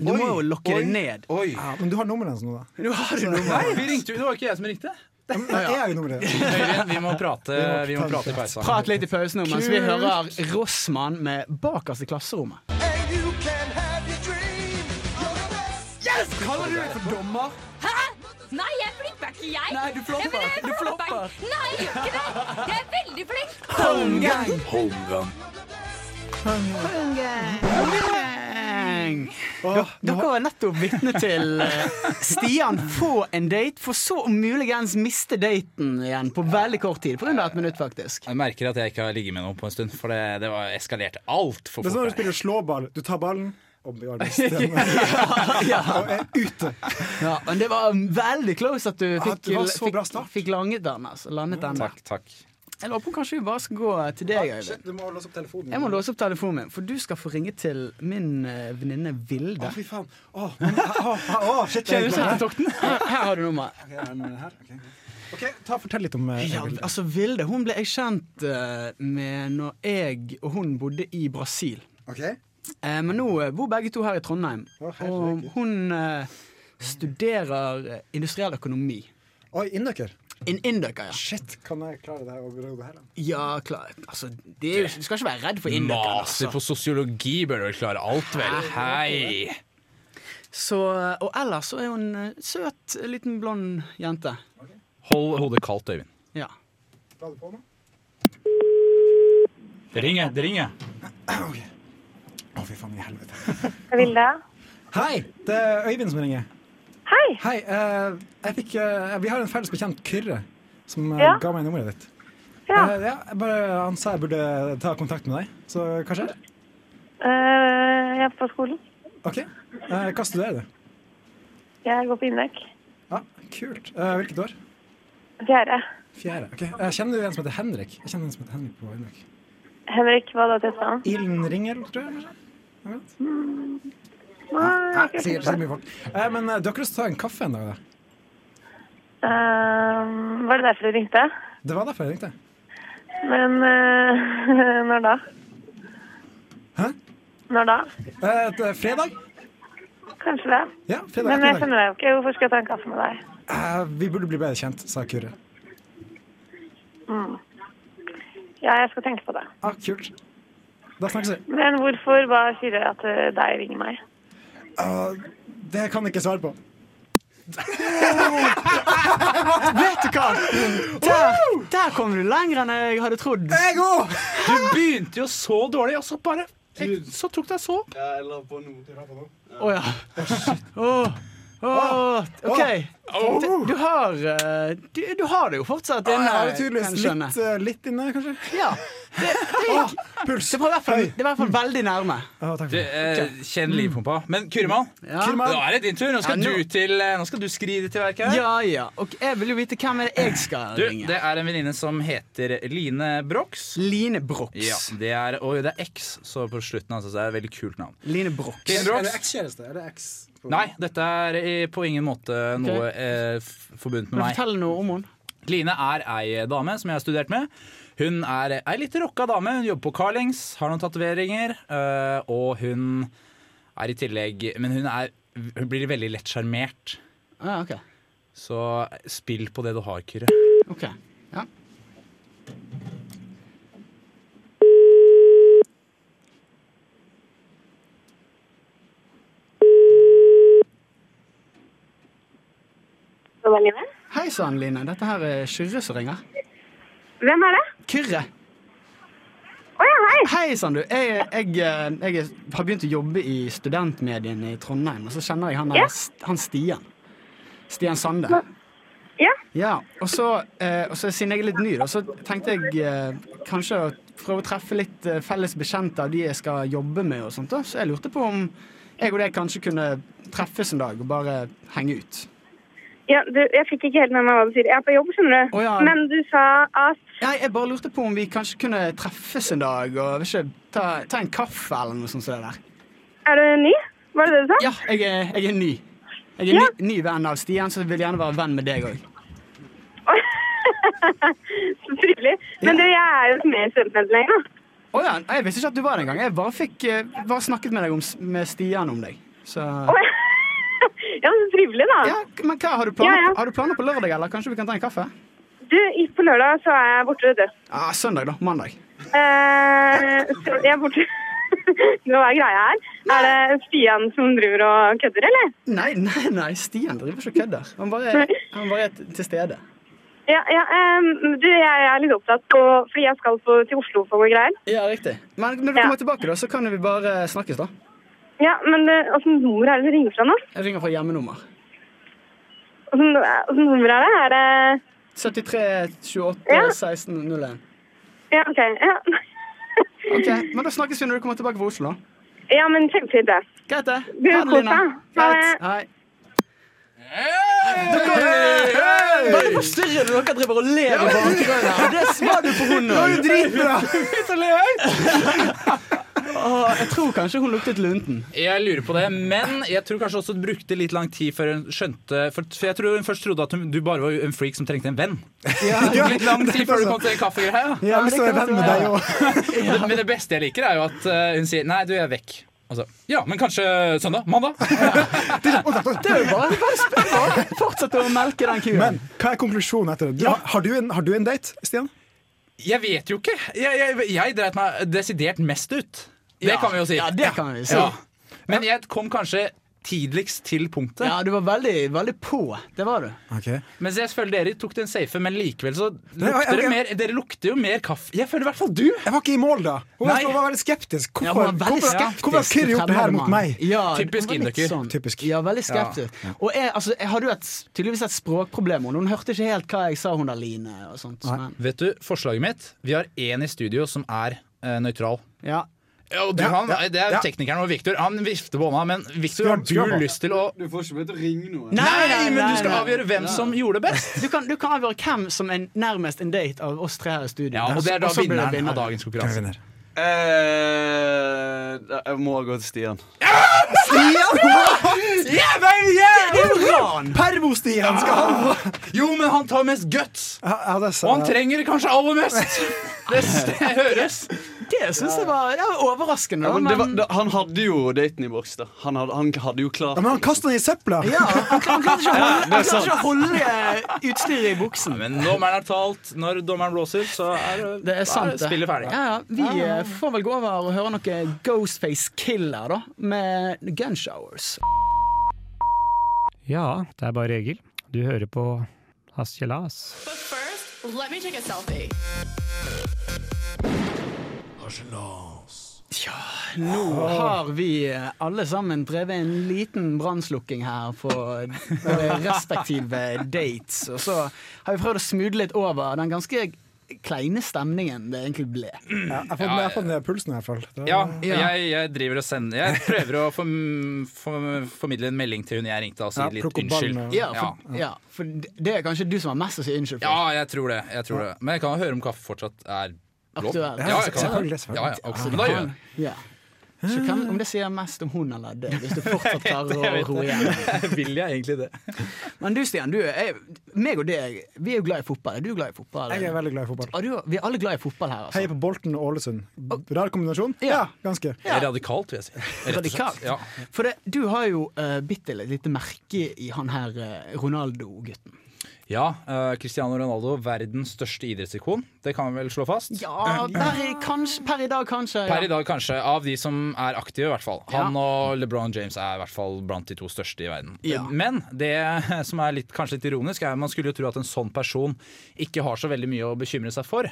Speaker 2: Du må jo lokke det ned.
Speaker 5: Oi.
Speaker 6: Ja, men du har nummeret hennes nå, da.
Speaker 2: Du har det nå.
Speaker 5: Nei, vi ringte, jo- det var ikke jeg som ringte.
Speaker 6: Ja, men jeg er jo nummeret.
Speaker 5: Øyvind, vi må prate, vi må prate i pausa.
Speaker 2: Prat litt i pausen nå mens vi hører Rossmann med 'Bakerst i klasserommet'.
Speaker 4: And you can have your dream. You're the best.
Speaker 2: Kaller du deg for dommer?
Speaker 7: Hæ? Nei, jeg flipper ikke, jeg.
Speaker 2: Nei, du flopper.
Speaker 7: Ja, men jeg
Speaker 2: Du flopper.
Speaker 7: ikke. Nei, jeg gjør ikke det. Jeg er veldig flink.
Speaker 2: Holmgang!
Speaker 3: Holmgang.
Speaker 2: Holmgang!
Speaker 6: Åh, nå
Speaker 2: Dere var nettopp vitne til eh, Stian få en date, for så om muligens miste daten igjen på veldig kort tid. På under et minutt, faktisk.
Speaker 5: Jeg merker at jeg ikke har ligget med noen på en stund, for det, det var eskalerte altfor
Speaker 6: Det er sånn
Speaker 5: fort.
Speaker 6: når du
Speaker 5: her.
Speaker 6: spiller slåball. Du tar ballen og blir armstemt. Og er ute.
Speaker 2: Ja, men det var veldig close at du
Speaker 6: um, Ja,
Speaker 2: fikk,
Speaker 6: det var så bra start.
Speaker 2: fikk, fikk langet den. Altså, landet den der.
Speaker 5: Takk, takk.
Speaker 2: Jeg lurer på om kanskje vi bare skal gå til deg, Øyvind.
Speaker 6: Du må låse opp telefonen.
Speaker 2: Jeg må låse opp telefonen min, for du skal få ringe til min eh, venninne Vilde.
Speaker 6: Å, fy faen. Å, men- å, å, å, shit, jeg
Speaker 2: sånn-
Speaker 6: glemte det.
Speaker 2: Her, her har du nummeret.
Speaker 6: Ok, er det noe her? Ok. OK, ta, fortell litt om eh,
Speaker 2: Ja,
Speaker 6: Vilde.
Speaker 2: altså Vilde hun ble jeg kjent eh, med når jeg og hun bodde i Brasil.
Speaker 6: Ok?
Speaker 2: Eh, men nå eh, bor begge to her i Trondheim.
Speaker 6: Å, herregud.
Speaker 2: Og hun eh, studerer eh, industriell økonomi.
Speaker 6: Oi, innøkker.
Speaker 2: En inndøker, ja.
Speaker 6: Shit, kan jeg klare det her og råde her? da?
Speaker 2: Ja, klar. Altså, det er jo, du skal ikke være redd for altså. inndøkere.
Speaker 5: Maser på sosiologi bør du vel klare alt, vel? Hei!
Speaker 2: Så, og ellers så er hun eh, søt, liten blond jente.
Speaker 5: Hold hodet kaldt, Øyvind.
Speaker 2: Ja.
Speaker 6: La det på nå.
Speaker 5: Det ringer, det ringer.
Speaker 6: Å, fy faen i helvete.
Speaker 8: Vilde?
Speaker 6: Hei, det er Øyvind som ringer.
Speaker 8: Hei!
Speaker 6: Hei, eh, jeg fikk, eh, vi har en felles bekjent, Kyrre, som eh,
Speaker 8: Ja.
Speaker 6: ga meg nummeret ditt.
Speaker 8: Ja.
Speaker 6: Eh, ja, jeg bare, han sa jeg burde ta kontakt med deg, så hva skjer?
Speaker 8: Eh, jeg er på skolen.
Speaker 6: Ok, eh, hva studerer du?
Speaker 8: Jeg går på Indøk.
Speaker 6: Ja, kult. Eh, hvilket år?
Speaker 8: Fjerde.
Speaker 6: Fjerde. Ok, eh, kjenner du en som heter Henrik? Jeg kjenner en som heter Henrik på Indøk.
Speaker 8: Henrik, hva da til etternavn?
Speaker 6: Ilen Ringel, tror jeg, kanskje?
Speaker 8: Nei,
Speaker 6: Sier-
Speaker 8: ikke sikker på.
Speaker 6: sier mye folk. Eh, men eh, du har ikke lyst til å ta en kaffe en dag, da?
Speaker 8: Eh, var det derfor du ringte?
Speaker 6: Det var derfor jeg ringte.
Speaker 8: Men eh, når da?
Speaker 6: Hæ?
Speaker 8: Når da?
Speaker 6: Eh, et, eh, fredag?
Speaker 8: Kanskje det.
Speaker 6: Ja, fredag
Speaker 8: Men jeg
Speaker 6: ettermiddag.
Speaker 8: kjenner deg jo ikke. Hvorfor skal jeg ta en kaffe med deg?
Speaker 6: Eh, vi burde bli bedre kjent, sa Kyrre.
Speaker 8: Ja, jeg skal tenke på det.
Speaker 6: Ah, kult. Da snakkes vi.
Speaker 8: Men hvorfor bare sier du at eh, deg ringer meg?
Speaker 6: Ah, det kan jeg ikke svare på.
Speaker 2: Vet du hva? Der, der kom du lenger enn jeg hadde trodd.
Speaker 6: Jeg òg!
Speaker 5: Du begynte jo så dårlig, og så bare Så tok det så.
Speaker 2: Å ja. Åh, åh, OK. Du, du har eh, du, du har det jo fortsatt
Speaker 6: Jeg
Speaker 2: inne.
Speaker 6: har det
Speaker 2: kan
Speaker 6: tydeligvis
Speaker 2: jeg skjønne.
Speaker 6: litt, eh, litt inne, kanskje.
Speaker 2: Ja. Det, det, gikk.
Speaker 6: Puls.
Speaker 2: det var i hvert fall, det var i hvert fall veldig nærme.
Speaker 6: Ah, takk for det.
Speaker 5: eh, kjenn livpumpa. Men Kyrman,
Speaker 2: Ja.
Speaker 6: Kyrre Mann,
Speaker 5: nå er det din tur. Nå skal,
Speaker 2: Ja, nå-
Speaker 5: Du, til, eh, nå skal du skride til verket. her.
Speaker 2: Ja, ja. Og jeg vil jo vite hvem er det jeg skal
Speaker 5: Du,
Speaker 2: ringe.
Speaker 5: det er en venninne som heter Line Brox.
Speaker 2: Line Brox.
Speaker 5: Ja, det er, og det er X, så på slutten altså, så er det et veldig kult navn.
Speaker 2: Line Brox.
Speaker 5: Line
Speaker 6: er det
Speaker 5: Brox.
Speaker 6: ekskjæreste? Er det eks?
Speaker 5: Nei, dette er eh, på ingen måte noe eh, f- forbundet med
Speaker 2: Men
Speaker 5: meg.
Speaker 2: Fortell noe om henne.
Speaker 5: Line er ei dame som jeg har studert med. Hun er ei litt rocka dame. Hun jobber på Carlings, har noen tatoveringer. eh, og hun er i tillegg Men hun, er, hun blir veldig lett sjarmert.
Speaker 2: Ah, ok.
Speaker 5: Så spill på det du har, Kyrre.
Speaker 2: OK. Ja.
Speaker 8: Hvem er Line?
Speaker 2: Hei sann, Line. Dette her er Kyrre som ringer.
Speaker 8: Hvem er det?
Speaker 2: Kyrre.
Speaker 8: Å ja, hei!
Speaker 2: Hei sann, du. Jeg, jeg, eh, jeg har begynt å jobbe i studentmediene i Trondheim, og så kjenner jeg han, der,
Speaker 8: Ja.
Speaker 2: St- han Stian. Stian Sande.
Speaker 8: Ja.
Speaker 2: Ja, og så, eh, og så Siden jeg er litt ny, da, så tenkte jeg eh, kanskje å prøve å treffe litt eh, felles bekjente av de jeg skal jobbe med. og sånt da. Så jeg lurte på om jeg og deg kanskje kunne treffes en dag og bare henge ut.
Speaker 8: ja du, jeg fikk ikke helt med meg hva du sier. Jeg er på jobb, skjønner du.
Speaker 2: Å, ja.
Speaker 8: Men du sa at
Speaker 2: Nei, Jeg bare lurte på om vi kanskje kunne treffes en dag og ikke, ta, ta en kaffe eller noe sånt. som det der.
Speaker 8: Er du ny? Var det det du sa?
Speaker 2: Ja, jeg er, jeg er ny. Jeg er
Speaker 8: Ja.
Speaker 2: ny, ny venn av Stian, så jeg vil gjerne være venn med deg òg.
Speaker 8: Så trivelig. Men du, jeg er jo ikke med i studentmedlem lenger. da.
Speaker 2: Å ja, jeg visste ikke at du var der engang. Jeg bare fikk eh, bare snakket med deg om, s- med Stian om deg. Så
Speaker 8: Ja, men så trivelig, da.
Speaker 2: Ja, men hva, har du, planer,
Speaker 8: Ja, ja.
Speaker 2: har du planer på lørdag, eller? Kanskje vi kan ta en kaffe?
Speaker 8: Du, i- på lørdag så er jeg borte, vet du.
Speaker 2: Ah, søndag, da. Mandag.
Speaker 8: Eh, så jeg er borte. Nå er greia her. Er det Stian som driver og kødder, eller?
Speaker 2: Nei, nei, nei, Stian driver ikke og kødder. Han bare, han bare er t- til stede.
Speaker 8: Ja, ja em, du, jeg er litt opptatt på, fordi jeg skal på, til Oslo for noen greier.
Speaker 2: Ja, riktig. Men når du
Speaker 8: Ja.
Speaker 2: kommer tilbake, da, så kan vi bare snakkes, da.
Speaker 8: Ja, men eh, åssen nummer er det du ringer fra nå?
Speaker 2: Jeg ringer fra hjemmenummer.
Speaker 8: Åssen eh, åssen nummer er det? Er det
Speaker 2: 73 28
Speaker 8: Ja.
Speaker 2: 16 01.
Speaker 8: Ja, OK. Ja,
Speaker 2: OK, men da snakkes vi når du kommer tilbake fra Oslo, da.
Speaker 8: ja men kjempefint, det.
Speaker 2: Greit, det.
Speaker 8: Du,
Speaker 2: Ha det, Lina.
Speaker 8: kos deg. Ha
Speaker 2: Greit.
Speaker 8: det.
Speaker 2: Hei. Bare forstyrrer du dere driver og ler i bakgrunnen. Og Det var du på hunden òg. Jeg tror kanskje hun luktet lunten.
Speaker 5: Jeg lurer på det, men jeg tror kanskje også det brukte litt lang tid før hun skjønte For, for jeg tror hun først trodde at hun, du bare var en freak som trengte en venn. Det tok litt lang tid før du kom til kaffegreia.
Speaker 6: Jeg har lyst til å være venn med deg òg.
Speaker 5: Men det- Men det beste jeg liker, er jo at eh, hun sier 'nei, du, jeg er vekk'. Altså, ja, men kanskje søndag? Mandag?
Speaker 2: Det er jo bare, bare spennende. Fortsett å melke den kuen.
Speaker 6: Men hva er konklusjonen etter det? Du, har, du en, har du en date, Stian?
Speaker 5: Jeg vet jo ikke. Jeg, jeg, jeg dreit meg desidert mest ut. Det kan vi jo si.
Speaker 2: Ja, det kan vi si.
Speaker 5: Ja.
Speaker 2: Ja,
Speaker 5: Men jeg kom kanskje tidligst til punktet.
Speaker 2: du var veldig, veldig på. Det var du.
Speaker 5: Mens jeg føler dere tok den safe, men likevel så lukter
Speaker 6: Nei, ok.
Speaker 5: dere mer Dere lukter jo mer kaffe. Jeg føler i hvert fall du.
Speaker 6: Jeg var ikke i mål da. Hun var,
Speaker 5: Nei.
Speaker 6: hun var veldig skeptisk.
Speaker 2: Ja,
Speaker 6: Hvorfor,
Speaker 2: hun var veldig
Speaker 6: hvorfor,
Speaker 2: skeptisk.
Speaker 6: hvorfor har Kyrre gjort det her mot meg?
Speaker 2: Ja,
Speaker 5: Typisk
Speaker 2: det var litt sånn.
Speaker 5: innrykker.
Speaker 6: Typisk.
Speaker 2: Ja, veldig skeptisk. Og jeg, altså, jeg hadde jo et, tydeligvis et språkproblem. Hun Hun hørte ikke helt hva jeg sa, hun der Line. Og sånt, men,
Speaker 5: Vet du, forslaget mitt Vi har én i studio som er eh, nøytral.
Speaker 2: ja.
Speaker 5: Ja, og du,
Speaker 6: Ja,
Speaker 5: han,
Speaker 6: ja,
Speaker 5: det er
Speaker 6: ja.
Speaker 5: teknikeren vår, Victor. Han vifter på hånda, men Victor,
Speaker 6: Skru
Speaker 5: har
Speaker 6: av, skru av.
Speaker 5: du lyst til å
Speaker 9: Du får ikke meg til å ringe noen.
Speaker 5: Nei, men
Speaker 2: nei,
Speaker 5: du skal
Speaker 2: nei.
Speaker 5: avgjøre hvem som gjorde det best.
Speaker 2: Du kan, du kan avgjøre hvem som er nærmest en date av oss tre her i studio.
Speaker 5: Ja, Og det er da
Speaker 2: så blir det
Speaker 5: vinneren
Speaker 2: vinner.
Speaker 5: av dagens
Speaker 6: Jeg
Speaker 5: konkurranse.
Speaker 6: vinner.
Speaker 9: Eh, jeg må gå til Stian.
Speaker 2: Det er jo ran!
Speaker 6: Pervo-Stian skal han få!
Speaker 5: Jo, men han tar mest guts!
Speaker 6: Ja, ja, det sa
Speaker 5: Og han
Speaker 6: jeg.
Speaker 5: trenger det kanskje aller mest! Det, det høres.
Speaker 2: Det syns jeg var, det var overraskende.
Speaker 9: Ja,
Speaker 2: da,
Speaker 9: men det var,
Speaker 2: men-
Speaker 9: da, han hadde jo daten i boks, da. Han hadde, han hadde jo klart
Speaker 6: Ja, men han kastet den i søpla!
Speaker 2: Ja, han klarte ikke å holde, han klarte ikke å holde eh, utstyret i buksen.
Speaker 5: Men dommeren har talt. Når dommeren blåser, så er
Speaker 2: Det er sant, det.
Speaker 5: spillet ferdig.
Speaker 2: Ja, ja, vi eh, får vel gå over og høre noe Ghostface Killer, da, med Gunshowers.
Speaker 10: Ja, det er bare Egil. Du hører på Hasjelas.
Speaker 2: Nå har vi eh, alle sammen drevet en liten brannslukking her på våre respektive dates, og så har vi prøvd å smugle litt over den ganske kleine stemningen det egentlig ble.
Speaker 6: Ja, jeg har fått, jeg har fått ned pulsen i hvert fall. Det var-
Speaker 5: Ja,
Speaker 2: Ja.
Speaker 5: jeg, jeg driver og sender Jeg prøver å form, form, formidle en melding til hun jeg ringte og si
Speaker 6: Ja,
Speaker 5: litt
Speaker 6: plukke opp ballen
Speaker 5: unnskyld.
Speaker 6: og-
Speaker 2: Ja,
Speaker 5: Ja.
Speaker 2: for, ja, for det er kanskje du som har mest å si unnskyld
Speaker 5: ja,
Speaker 2: for.
Speaker 5: jeg tror det. Jeg tror det. Men jeg kan jo høre om kaffe fortsatt er lov.
Speaker 2: Aktuelt.
Speaker 5: Ja, jeg kan.
Speaker 6: Selvfølgelig,
Speaker 5: det.
Speaker 6: selvfølgelig.
Speaker 5: Ja, ja, absolutt. Men da gjør jeg det.
Speaker 2: Ja. Så hvem, om det sier mest om hun eller deg, hvis du fortsatt klarer å roe igjen.
Speaker 5: Vil jeg egentlig det?
Speaker 2: Men du Stian, du, jeg, meg og deg, vi er jo glad i fotball. Er du glad i fotball?
Speaker 6: Jeg er veldig glad i fotball.
Speaker 2: Ja, du, vi er alle glad i fotball her, altså.
Speaker 6: Heier på Bolten og Ålesund. Rar kombinasjon?
Speaker 2: Ja.
Speaker 6: Ja, ganske.
Speaker 5: Det er radikalt, vil jeg si. Rett og slett.
Speaker 2: Radikalt.
Speaker 5: Ja.
Speaker 2: For det, du har jo uh, bitt deg et lite merke i han her eh, Ronaldo-gutten.
Speaker 5: Ja, eh, Cristiano Ronaldo, verdens største idrettsikon. Det kan vi vel slå fast?
Speaker 2: Ja, per i, kanskje, per i dag kanskje.
Speaker 5: Eh, Per i
Speaker 2: ja.
Speaker 5: dag kanskje, av de som er aktive i hvert fall. Han og LeBron James er i hvert fall blant de to største i verden.
Speaker 2: Ja.
Speaker 5: Men det som er litt, kanskje litt ironisk, er at man skulle jo tro at en sånn person ikke har så veldig mye å bekymre seg for.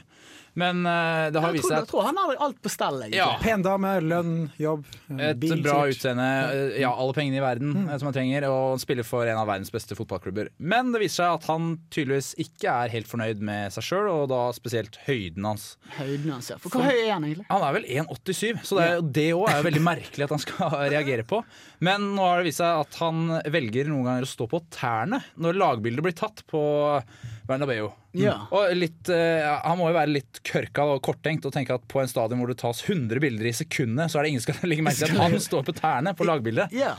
Speaker 5: Men eh, det har
Speaker 2: Jeg
Speaker 5: vist
Speaker 2: tror,
Speaker 5: seg
Speaker 2: jeg
Speaker 5: at
Speaker 2: tror han har alt på stell, egentlig.
Speaker 5: Ja.
Speaker 6: Pen dame, lønn, jobb, eh,
Speaker 5: et
Speaker 6: bil.
Speaker 5: bra
Speaker 6: sikkert.
Speaker 5: utseende, eh, ja, alle pengene i verden eh, som han trenger, og spiller for en av verdens beste fotballklubber. Men det viser seg at han tydeligvis ikke er helt fornøyd med seg sjøl, og da spesielt høyden hans.
Speaker 2: Høyden hans, ja. For hvor høy er han egentlig?
Speaker 5: Han er vel 1,87, så det, er, det også er jo veldig merkelig at han skal reagere på. Men nå har det vist seg at han velger noen ganger å stå på tærne når lagbildet blir tatt på Bernabeu.
Speaker 2: Ja.
Speaker 5: Og litt, eh, han må jo være litt kørka og korttenkt og tenke at på en stadion hvor det tas 100 bilder i sekundet, så er det ingen som skal legge merke til at han står på tærne på lagbildet.
Speaker 2: Ja.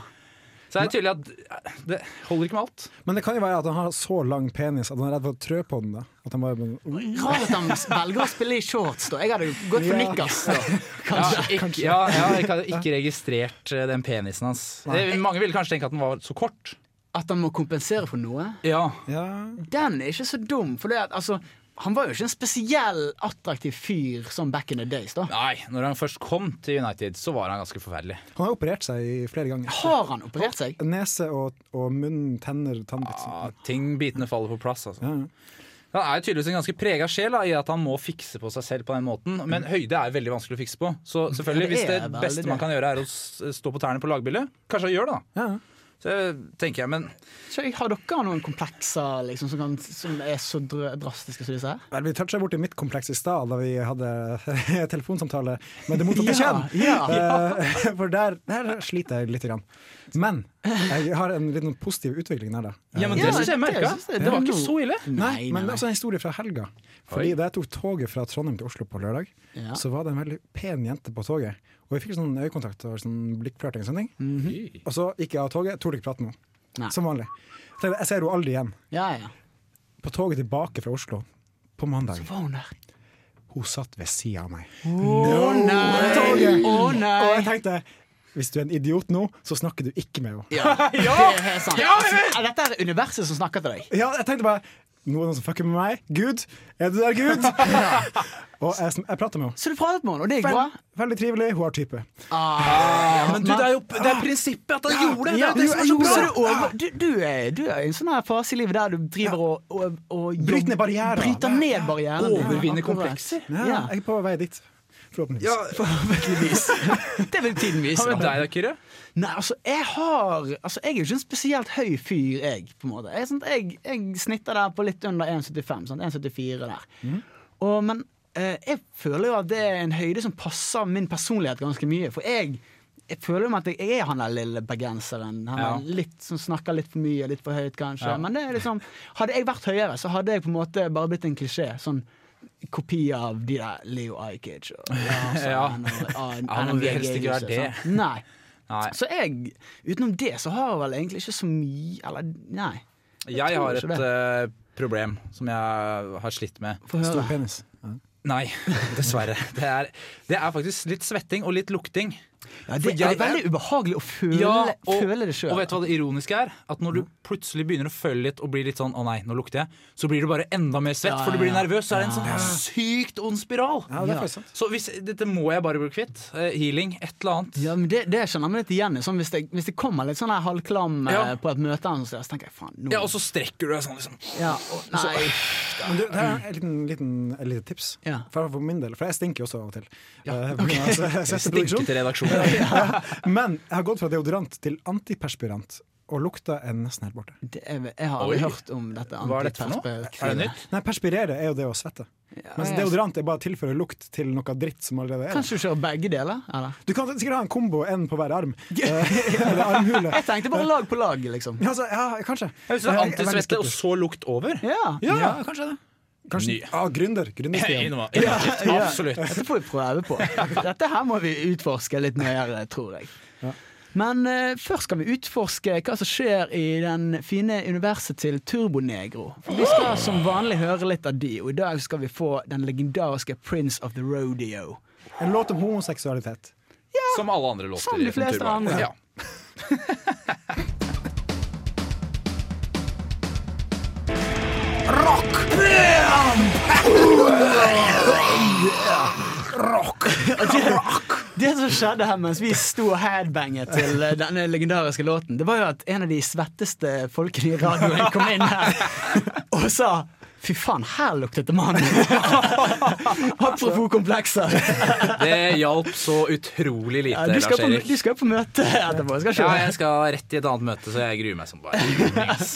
Speaker 5: Så det er tydelig at eh, det holder ikke med alt.
Speaker 6: Men det kan jo være at han har så lang penis at han er redd for å trø på den. da At han bare
Speaker 2: Rart at han velger å spille i shorts, da. Jeg hadde jo gått for
Speaker 6: Ja.
Speaker 2: nikkers. da.
Speaker 5: Ja,
Speaker 2: Kanskje.
Speaker 5: ikke, ja, ja, jeg hadde ikke registrert eh, den penisen hans. Det, mange ville kanskje tenke at den var så kort.
Speaker 2: At han må kompensere for noe.
Speaker 5: Ja,
Speaker 6: ja.
Speaker 2: Den er ikke så dum. For det at, altså, han var jo ikke en spesiell attraktiv fyr sånn back in the days, da.
Speaker 5: Nei, når han først kom til United, så var han ganske forferdelig.
Speaker 6: Han har operert seg i flere ganger.
Speaker 2: Har han operert seg?
Speaker 6: Nese og, og munn, tenner, tannbitt.
Speaker 2: Ah.
Speaker 5: Ja, ting Bitene faller på plass. Altså.
Speaker 6: Ja, ja.
Speaker 5: Han er jo tydeligvis en ganske prega sjel da, i at han må fikse på seg selv på den måten. Men høyde er jo veldig vanskelig å fikse på. Så selvfølgelig,
Speaker 2: Ja, det
Speaker 5: hvis
Speaker 2: er
Speaker 5: det
Speaker 2: veldig
Speaker 5: beste man
Speaker 2: det.
Speaker 5: kan gjøre er å s- eh, stå på tærne på lagbildet, kanskje han gjør det, da.
Speaker 6: Ja.
Speaker 5: Så tenker jeg, men
Speaker 2: Så har dere noen komplekser liksom, som, kan, som er så drø- drastiske som disse her?
Speaker 6: Vel, vi toucha borti mitt kompleks i stad da vi hadde telefonsamtale med det motsatte
Speaker 2: Ja,
Speaker 6: kjønn.
Speaker 2: ja.
Speaker 6: Eh, For der, der sliter jeg litt. Grann. Men jeg har en liten positiv utvikling der, da. Eh,
Speaker 5: Ja, men
Speaker 2: Ja,
Speaker 5: det syns jeg
Speaker 2: det
Speaker 5: merka.
Speaker 2: synes jeg-
Speaker 5: Det
Speaker 2: det
Speaker 5: var
Speaker 2: var
Speaker 5: ikke
Speaker 2: noe-
Speaker 5: så ille. altså-
Speaker 6: Nei, men det er også en historie fra helga. Fordi
Speaker 5: Oi.
Speaker 6: Da jeg tok toget fra Trondheim til Oslo på lørdag,
Speaker 2: Ja.
Speaker 6: så var det en veldig pen jente på toget. Og vi fikk sånn øyekontakt og sånn blikkflørting. Og sånne ting. Og så gikk jeg av toget, torde ikke prate
Speaker 2: Mhm.
Speaker 6: med
Speaker 2: Nei.
Speaker 6: henne. Som vanlig. Så Jeg jeg ser henne aldri igjen.
Speaker 2: Ja, ja.
Speaker 6: På toget tilbake fra Oslo på mandag.
Speaker 2: Var hun der?
Speaker 6: Hun satt ved sida av meg.
Speaker 2: Å nei!
Speaker 6: Toget.
Speaker 2: Å
Speaker 6: Og jeg
Speaker 2: nei!
Speaker 6: tenkte hvis du er en idiot nå, så snakker du ikke med henne.
Speaker 2: Ja, det er helt sant. Altså, dette er universet som snakker til deg.
Speaker 6: Ja, jeg tenkte bare nå er det noen som fucker med meg. Gud, er du der, Gud? Og jeg, sn- jeg prata med henne.
Speaker 2: Så du pratet med henne, og det gikk bra?
Speaker 6: Vel- Veldig trivelig, hun har type.
Speaker 5: Men du, det er jo det er prinsippet at han gjorde det! Det
Speaker 2: Ah. Ja,
Speaker 5: er jo det som er så
Speaker 2: jo,
Speaker 5: bra!
Speaker 2: så du, over, du, du, er, du er i en sånn her fase i livet der du driver og, og, og jobb-
Speaker 6: Bryt ned barrierer.
Speaker 2: Bryter ned barrierene.
Speaker 5: Overvinne
Speaker 2: Ja, akkurat.
Speaker 5: komplekser.
Speaker 6: Ja,
Speaker 2: Ja.
Speaker 6: Jeg er på vei dit, forhåpentligvis.
Speaker 2: Det vil tiden vise.
Speaker 5: Hva med deg da, Kyrre?
Speaker 2: Nei, altså, jeg har Altså, jeg er jo ikke en spesielt høy fyr, jeg, på en måte. Jeg, er sånn at jeg, jeg snitter der på litt under 1,75. Sånn 1,74 der.
Speaker 5: Mhm.
Speaker 2: Og, men eh, jeg føler jo at det er en høyde som passer min personlighet ganske mye. For jeg, jeg føler jo at jeg, jeg er han der lille bergenseren. Han
Speaker 5: Ja.
Speaker 2: er litt, som snakker litt for mye, litt for høyt, kanskje.
Speaker 5: Ja.
Speaker 2: Men det er liksom Hadde jeg vært høyere, så hadde jeg på en måte bare blitt en klisjé. Sånn kopi av de der Leo Ajkic og ja, så,
Speaker 5: Ja.
Speaker 2: han og- han-
Speaker 5: Ja, man
Speaker 2: han
Speaker 5: vil
Speaker 2: og
Speaker 5: helst ikke
Speaker 2: Georgius,
Speaker 5: være det.
Speaker 2: sant? Nei.
Speaker 5: Nei.
Speaker 2: Så jeg, utenom det, så har jeg vel egentlig ikke så mye Eller nei.
Speaker 5: Jeg
Speaker 2: tror
Speaker 5: har et
Speaker 2: ikke
Speaker 5: eh, problem som jeg har slitt med.
Speaker 2: Få
Speaker 6: Stor
Speaker 2: høre.
Speaker 6: penis. Ja.
Speaker 5: Nei, dessverre. Det er, det er faktisk litt svetting og litt lukting.
Speaker 2: Ja, det
Speaker 5: For
Speaker 2: er
Speaker 5: jeg-
Speaker 2: veldig ubehagelig å føle,
Speaker 5: og,
Speaker 2: føle det Mm. sjøl.
Speaker 5: og vet du hva det ironiske er? At når du plutselig begynner å følge litt og blir litt sånn 'å nei, nå lukter jeg', så blir du bare enda mer svett,
Speaker 2: Ja,
Speaker 5: for du blir
Speaker 2: ja, ja.
Speaker 5: nervøs. Så er det en sånn sykt ond spiral.
Speaker 6: Ja, det er faktisk sant.
Speaker 5: Så hvis, dette må jeg bare bli kvitt. Eh, healing, et eller annet.
Speaker 2: Ja, men det, det kjenner jeg meg litt igjen i. Sånn, hvis, det- hvis det kommer litt sånn her halvklam eh,
Speaker 5: Ja.
Speaker 2: på et møte, eller noe sånt, så tenker jeg faen nå
Speaker 5: Ja, og så strekker du deg sånn, liksom.
Speaker 2: Ja, og, Nei.
Speaker 6: Men du, det er et liten, liten, et lite tips,
Speaker 2: Ja.
Speaker 6: for, for min del. For jeg stinker jo også av og til. Eh,
Speaker 5: Jeg
Speaker 6: altså,
Speaker 5: stinker til redaksjonen.
Speaker 6: Men jeg har gått fra deodorant til antiperspirant, og lukta er nesten helt borte.
Speaker 2: Det er, jeg har
Speaker 5: Oi.
Speaker 2: aldri hørt om dette
Speaker 5: Hva er dette for noe? Er det
Speaker 2: antiperspektivet.
Speaker 5: nytt?
Speaker 6: Nei, perspirere er jo det å svette. Mens
Speaker 2: jeg-
Speaker 6: deodorant er bare å tilføre lukt til noe dritt som allerede er der.
Speaker 2: Kanskje du kjører begge deler? Eller?
Speaker 6: Du kan sikkert ha en kombo, én på hver arm. Eh, Eller armhule.
Speaker 2: Jeg tenkte bare lag på lag, liksom.
Speaker 6: Ja, Altså, ja, kanskje.
Speaker 5: Jeg husker
Speaker 6: Jeg er veldig
Speaker 5: antisvette og
Speaker 6: skeptisk.
Speaker 5: så lukt over.
Speaker 2: Ja.
Speaker 5: kanskje det.
Speaker 6: Kanskje,
Speaker 5: Ny.
Speaker 6: ja, gründer. Gründerstigen.
Speaker 5: Innova- Innovativt. Absolutt.
Speaker 2: Dette får vi prøve på. Dette her må vi utforske litt nøyere, tror jeg. Men eh, først skal vi utforske hva som skjer i den fine universet til Turbonegro. Vi skal som vanlig høre litt av de, og i dag skal vi få den legendariske Prince of the Rodeo.
Speaker 6: En låt om homoseksualitet.
Speaker 5: Som alle andre låter.
Speaker 2: Som de
Speaker 5: i
Speaker 2: fleste
Speaker 5: Turbo.
Speaker 2: andre.
Speaker 5: Ja.
Speaker 11: Rock!
Speaker 2: Rock! Rock! Det som skjedde her mens vi sto og headbanget til eh, denne legendariske låten, det var jo at en av de svetteste folkene i radioen kom inn her og sa Fy faen, her luktet det mann! Apropos komplekser.
Speaker 5: Det hjalp så utrolig lite,
Speaker 2: Ja, du, skal på,
Speaker 5: Lars-Erik.
Speaker 2: du skal på møte etterpå. Skal ikke
Speaker 5: Ja,
Speaker 2: du?
Speaker 5: jeg skal rett i et annet møte, så jeg gruer meg som bare julings.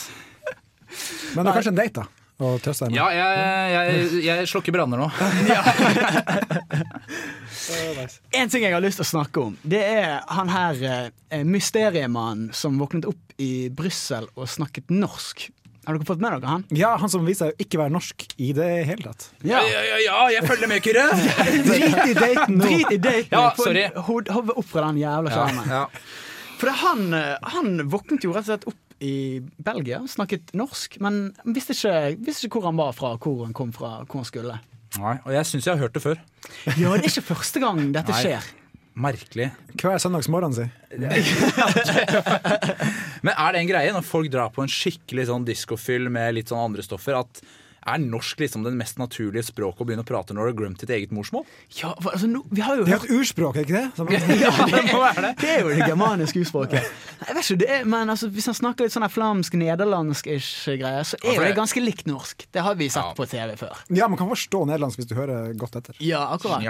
Speaker 6: Men det er kanskje en date, da? Å trøste deg med.
Speaker 5: Ja, jeg, jeg, jeg slukker branner nå.
Speaker 2: En ting jeg har lyst til å snakke om, det er han her eh, mysteriemannen som våknet opp i Brussel og snakket norsk. Har dere fått med dere han?
Speaker 6: Ja, han som viser seg å ikke være norsk i det hele tatt.
Speaker 2: Ja,
Speaker 5: jeg følger med, Kyrre!
Speaker 2: Drit i daten nå! Drit i daten.
Speaker 5: Ja,
Speaker 2: Få
Speaker 5: sorry.
Speaker 2: hod- Hodet opp fra den jævla
Speaker 5: Ja,
Speaker 2: skjermen. For det, han, eh, han våknet jo rett og slett opp i Belgia, snakket norsk, men visste ikke, visste ikke hvor han var fra, hvor han kom fra, hvor han skulle.
Speaker 5: Nei, og jeg syns jeg har hørt det før.
Speaker 2: Ja, det er ikke første gang dette
Speaker 5: Nei.
Speaker 2: skjer.
Speaker 5: Merkelig.
Speaker 6: Hver søndagsmorgen, si.
Speaker 5: Men er det en greie når folk drar på en skikkelig sånn diskofyll med litt sånn andre stoffer, at er norsk liksom den mest naturlige språket å begynne å prate når du har glemt ditt eget morsmål?
Speaker 2: Ja, for, altså, nå, vi har jo
Speaker 6: Det er et urspråk, er ikke det? Som-
Speaker 2: ja, det, er, det er jo det germaniske urspråket. Jeg vet ikke, det er, men altså, Hvis han snakker litt sånn her flamsk, nederlandsk-ish greier, så er jo det ganske likt norsk. Det har vi sett på TV før.
Speaker 6: Ja, man kan forstå nederlandsk hvis du hører godt etter.
Speaker 2: Ja, akkurat.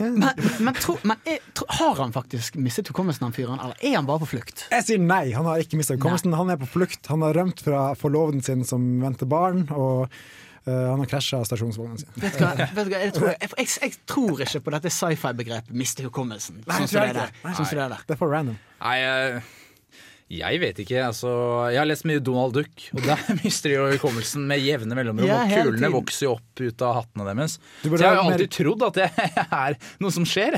Speaker 2: Men, men, tro, men er, tro, har han faktisk mistet hukommelsen, han fyren, eller er han bare på flukt?
Speaker 6: Jeg sier nei, han har ikke mista hukommelsen. Han er på flukt. Han har rømt fra forloveden sin som venter barn, og eh, han har krasja stasjonsvognen sin.
Speaker 2: Vet du hva, vet du hva jeg, tror, jeg, jeg, jeg tror ikke på dette sci-fi-begrepet 'miste hukommelsen'.
Speaker 6: Nei,
Speaker 2: Sånn
Speaker 6: tror
Speaker 2: som det
Speaker 6: jeg
Speaker 2: er der.
Speaker 6: ikke. Nei.
Speaker 2: Sånn som det er der.
Speaker 6: Det er for random.
Speaker 5: Nei, jeg, jeg vet ikke. Altså, jeg har lest mye Donald Duck, og der mister de jo hukommelsen med jevne mellomrom.
Speaker 6: Ja,
Speaker 5: og
Speaker 6: hele
Speaker 5: kulene
Speaker 6: tiden.
Speaker 5: vokser jo opp ut av hattene deres.
Speaker 6: Du
Speaker 5: Så
Speaker 6: burde
Speaker 5: jeg har jo
Speaker 6: vært mer-
Speaker 5: alltid trodd at det er noe som skjer.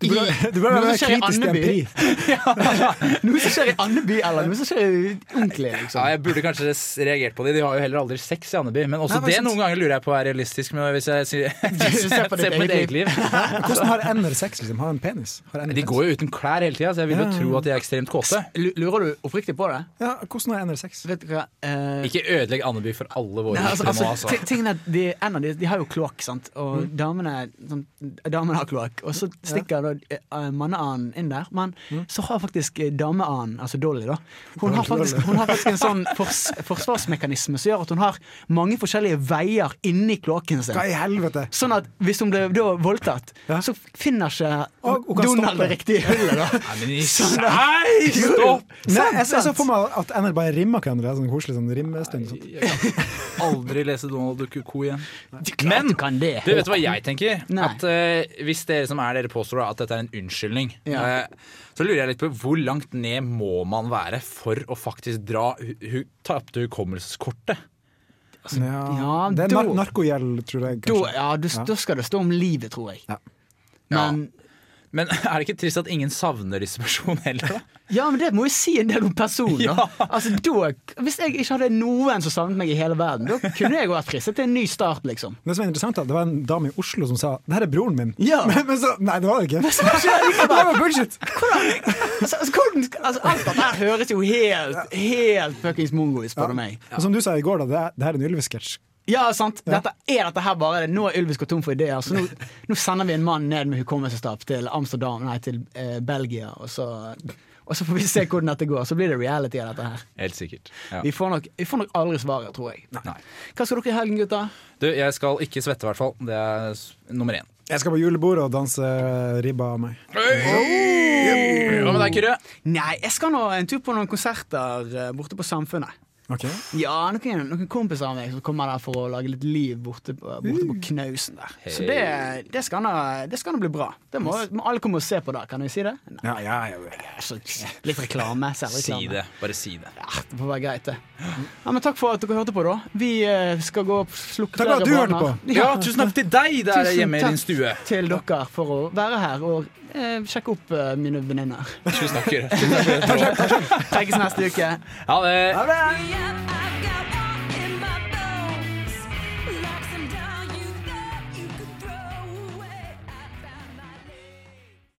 Speaker 6: Du burde-
Speaker 5: I-
Speaker 6: du burde
Speaker 5: noe
Speaker 6: være
Speaker 5: som skjer i
Speaker 6: kritisk til
Speaker 5: Andeby.
Speaker 6: empiri.
Speaker 2: Noe som skjer i Andeby, eller noe som skjer i Onkelig, liksom.
Speaker 5: Ja, jeg burde kanskje s- reagert på det. De har jo heller aldri sex i Andeby. Men også
Speaker 2: Nei, men
Speaker 5: det
Speaker 2: sant.
Speaker 5: noen ganger lurer jeg på er realistisk. Men hvis jeg sier,
Speaker 2: ser på ditt
Speaker 5: ser på mitt
Speaker 2: eget
Speaker 5: eget
Speaker 2: liv.
Speaker 5: liv
Speaker 6: Hvordan har ender sex? liksom? Har en penis? Har ender
Speaker 5: De går jo uten klær hele tida, så jeg vil jo
Speaker 6: Ja.
Speaker 5: tro at de er ekstremt kåte.
Speaker 2: Lurer du oppriktig på det?
Speaker 6: Ja, hvordan har ender sex?
Speaker 2: Vet du hva? Eh,
Speaker 5: Ikke ødelegg Andeby for alle våre
Speaker 2: Nei, altså,
Speaker 5: lyttere
Speaker 2: altså,
Speaker 5: nå, altså.
Speaker 2: ti- tingen er at de, en av de, de har jo kloakk, sant? og damene, sånn, damene har kloakk. Og så stikker da eh, manneanen inn der, men så har faktisk eh, dameanen, altså Dolly, da Hun har faktisk, hun har faktisk en sånn fors, forsvarsmekanisme som gjør at hun har mange forskjellige veier inni kloakken sin.
Speaker 6: Hva i helvete?
Speaker 2: Sånn at hvis hun ble da voldtatt, så finner ikke
Speaker 6: Og- og kan stoppe.
Speaker 2: Donald det riktige hullet, da.
Speaker 5: Nei, men i-
Speaker 2: Sånn at-
Speaker 5: Nei, stopp!
Speaker 6: Nei, jeg, jeg så for meg at ender bare rimmer hverandre. Sånn koselig sånn rimmestund. og sånt.
Speaker 5: Aldri lese Donald Duck Co. igjen.
Speaker 2: Men du kan det.
Speaker 5: Du vet du hva jeg tenker?
Speaker 2: Nei.
Speaker 5: At eh, Hvis dere som er dere påstår da, at dette er en unnskyldning,
Speaker 2: Ja.
Speaker 5: eh, så lurer jeg litt på hvor langt ned må man være for å faktisk dra hu hu tapte hukommelseskortet?
Speaker 6: Ja,
Speaker 2: altså, Ja,
Speaker 6: det er nar
Speaker 2: da-
Speaker 6: narkogjeld, tror jeg.
Speaker 2: Da,
Speaker 6: kanskje.
Speaker 2: ja, du, da skal det stå om livet, tror jeg. Men
Speaker 5: Men er det ikke trist at ingen savner disse personene heller, da?
Speaker 2: Ja, men det må jo si en del om personen. da. Altså, da, hvis jeg ikke hadde noen som savnet meg i hele verden, da kunne jeg jo vært fristet til en ny start, liksom.
Speaker 6: Det som er interessant er at det var en dame i Oslo som sa 'det her er broren min'.
Speaker 2: Ja.
Speaker 6: Men, men så, nei, det var det
Speaker 2: Men
Speaker 6: ikke.
Speaker 2: så skjer det
Speaker 6: Det var bullshit!
Speaker 2: Altså, altså, hvordan, altså, alt dette her høres jo helt, helt fuckings mongo ut, spør du meg.
Speaker 6: Og Som du sa i går, da, det, er, det her er en Ylvis-sketsj.
Speaker 2: Ja, sant. Dette er dette her bare det. Nå er Ylvis gått tom for ideer, så nå, nå sender vi en mann ned med hukommelsestap til Amsterdam, nei, til eh, Belgia, og så, og så får vi se hvordan dette går. Så blir det reality av dette her.
Speaker 5: Helt sikkert. Ja.
Speaker 2: Vi får nok, vi får nok aldri svaret, tror jeg.
Speaker 5: Nei.
Speaker 2: Hva skal dere i helgen, gutta?
Speaker 5: Du, jeg skal ikke svette, i hvert fall. Det er s- nummer én.
Speaker 6: Jeg skal på julebordet og danse eh, ribba av meg.
Speaker 5: Hva med deg, Kyrre?
Speaker 2: Nei, jeg skal nå en tur på noen konserter eh, borte på Samfunnet.
Speaker 6: Ok.
Speaker 2: Ja, noen, noen kompiser av meg som kommer der for å lage litt liv borte på, borte på knausen der. Så det, det, skal nå, det skal nå bli bra. Det må, må alle komme og se på det, kan vi si det? Nei,
Speaker 6: Ja, ja, ja.
Speaker 2: altså, litt reklame,
Speaker 5: Si
Speaker 2: selvreklame.
Speaker 5: det. Bare si det.
Speaker 2: Ja, det får være greit, det. Ja, men takk for at dere hørte på, da. Vi eh, skal gå og slukke
Speaker 6: Takk for at du hørte
Speaker 2: branner.
Speaker 6: på.
Speaker 5: Ja, tusen takk til deg der
Speaker 2: Tusen
Speaker 5: hjemme i din
Speaker 2: takk
Speaker 5: stue.
Speaker 2: Til dere for å være her og eh, sjekke opp eh, mine venninner.
Speaker 5: Tusen takk, Kyrre.
Speaker 2: Trekkes neste uke.
Speaker 5: Ha det.
Speaker 2: Ha det!
Speaker 7: Vi er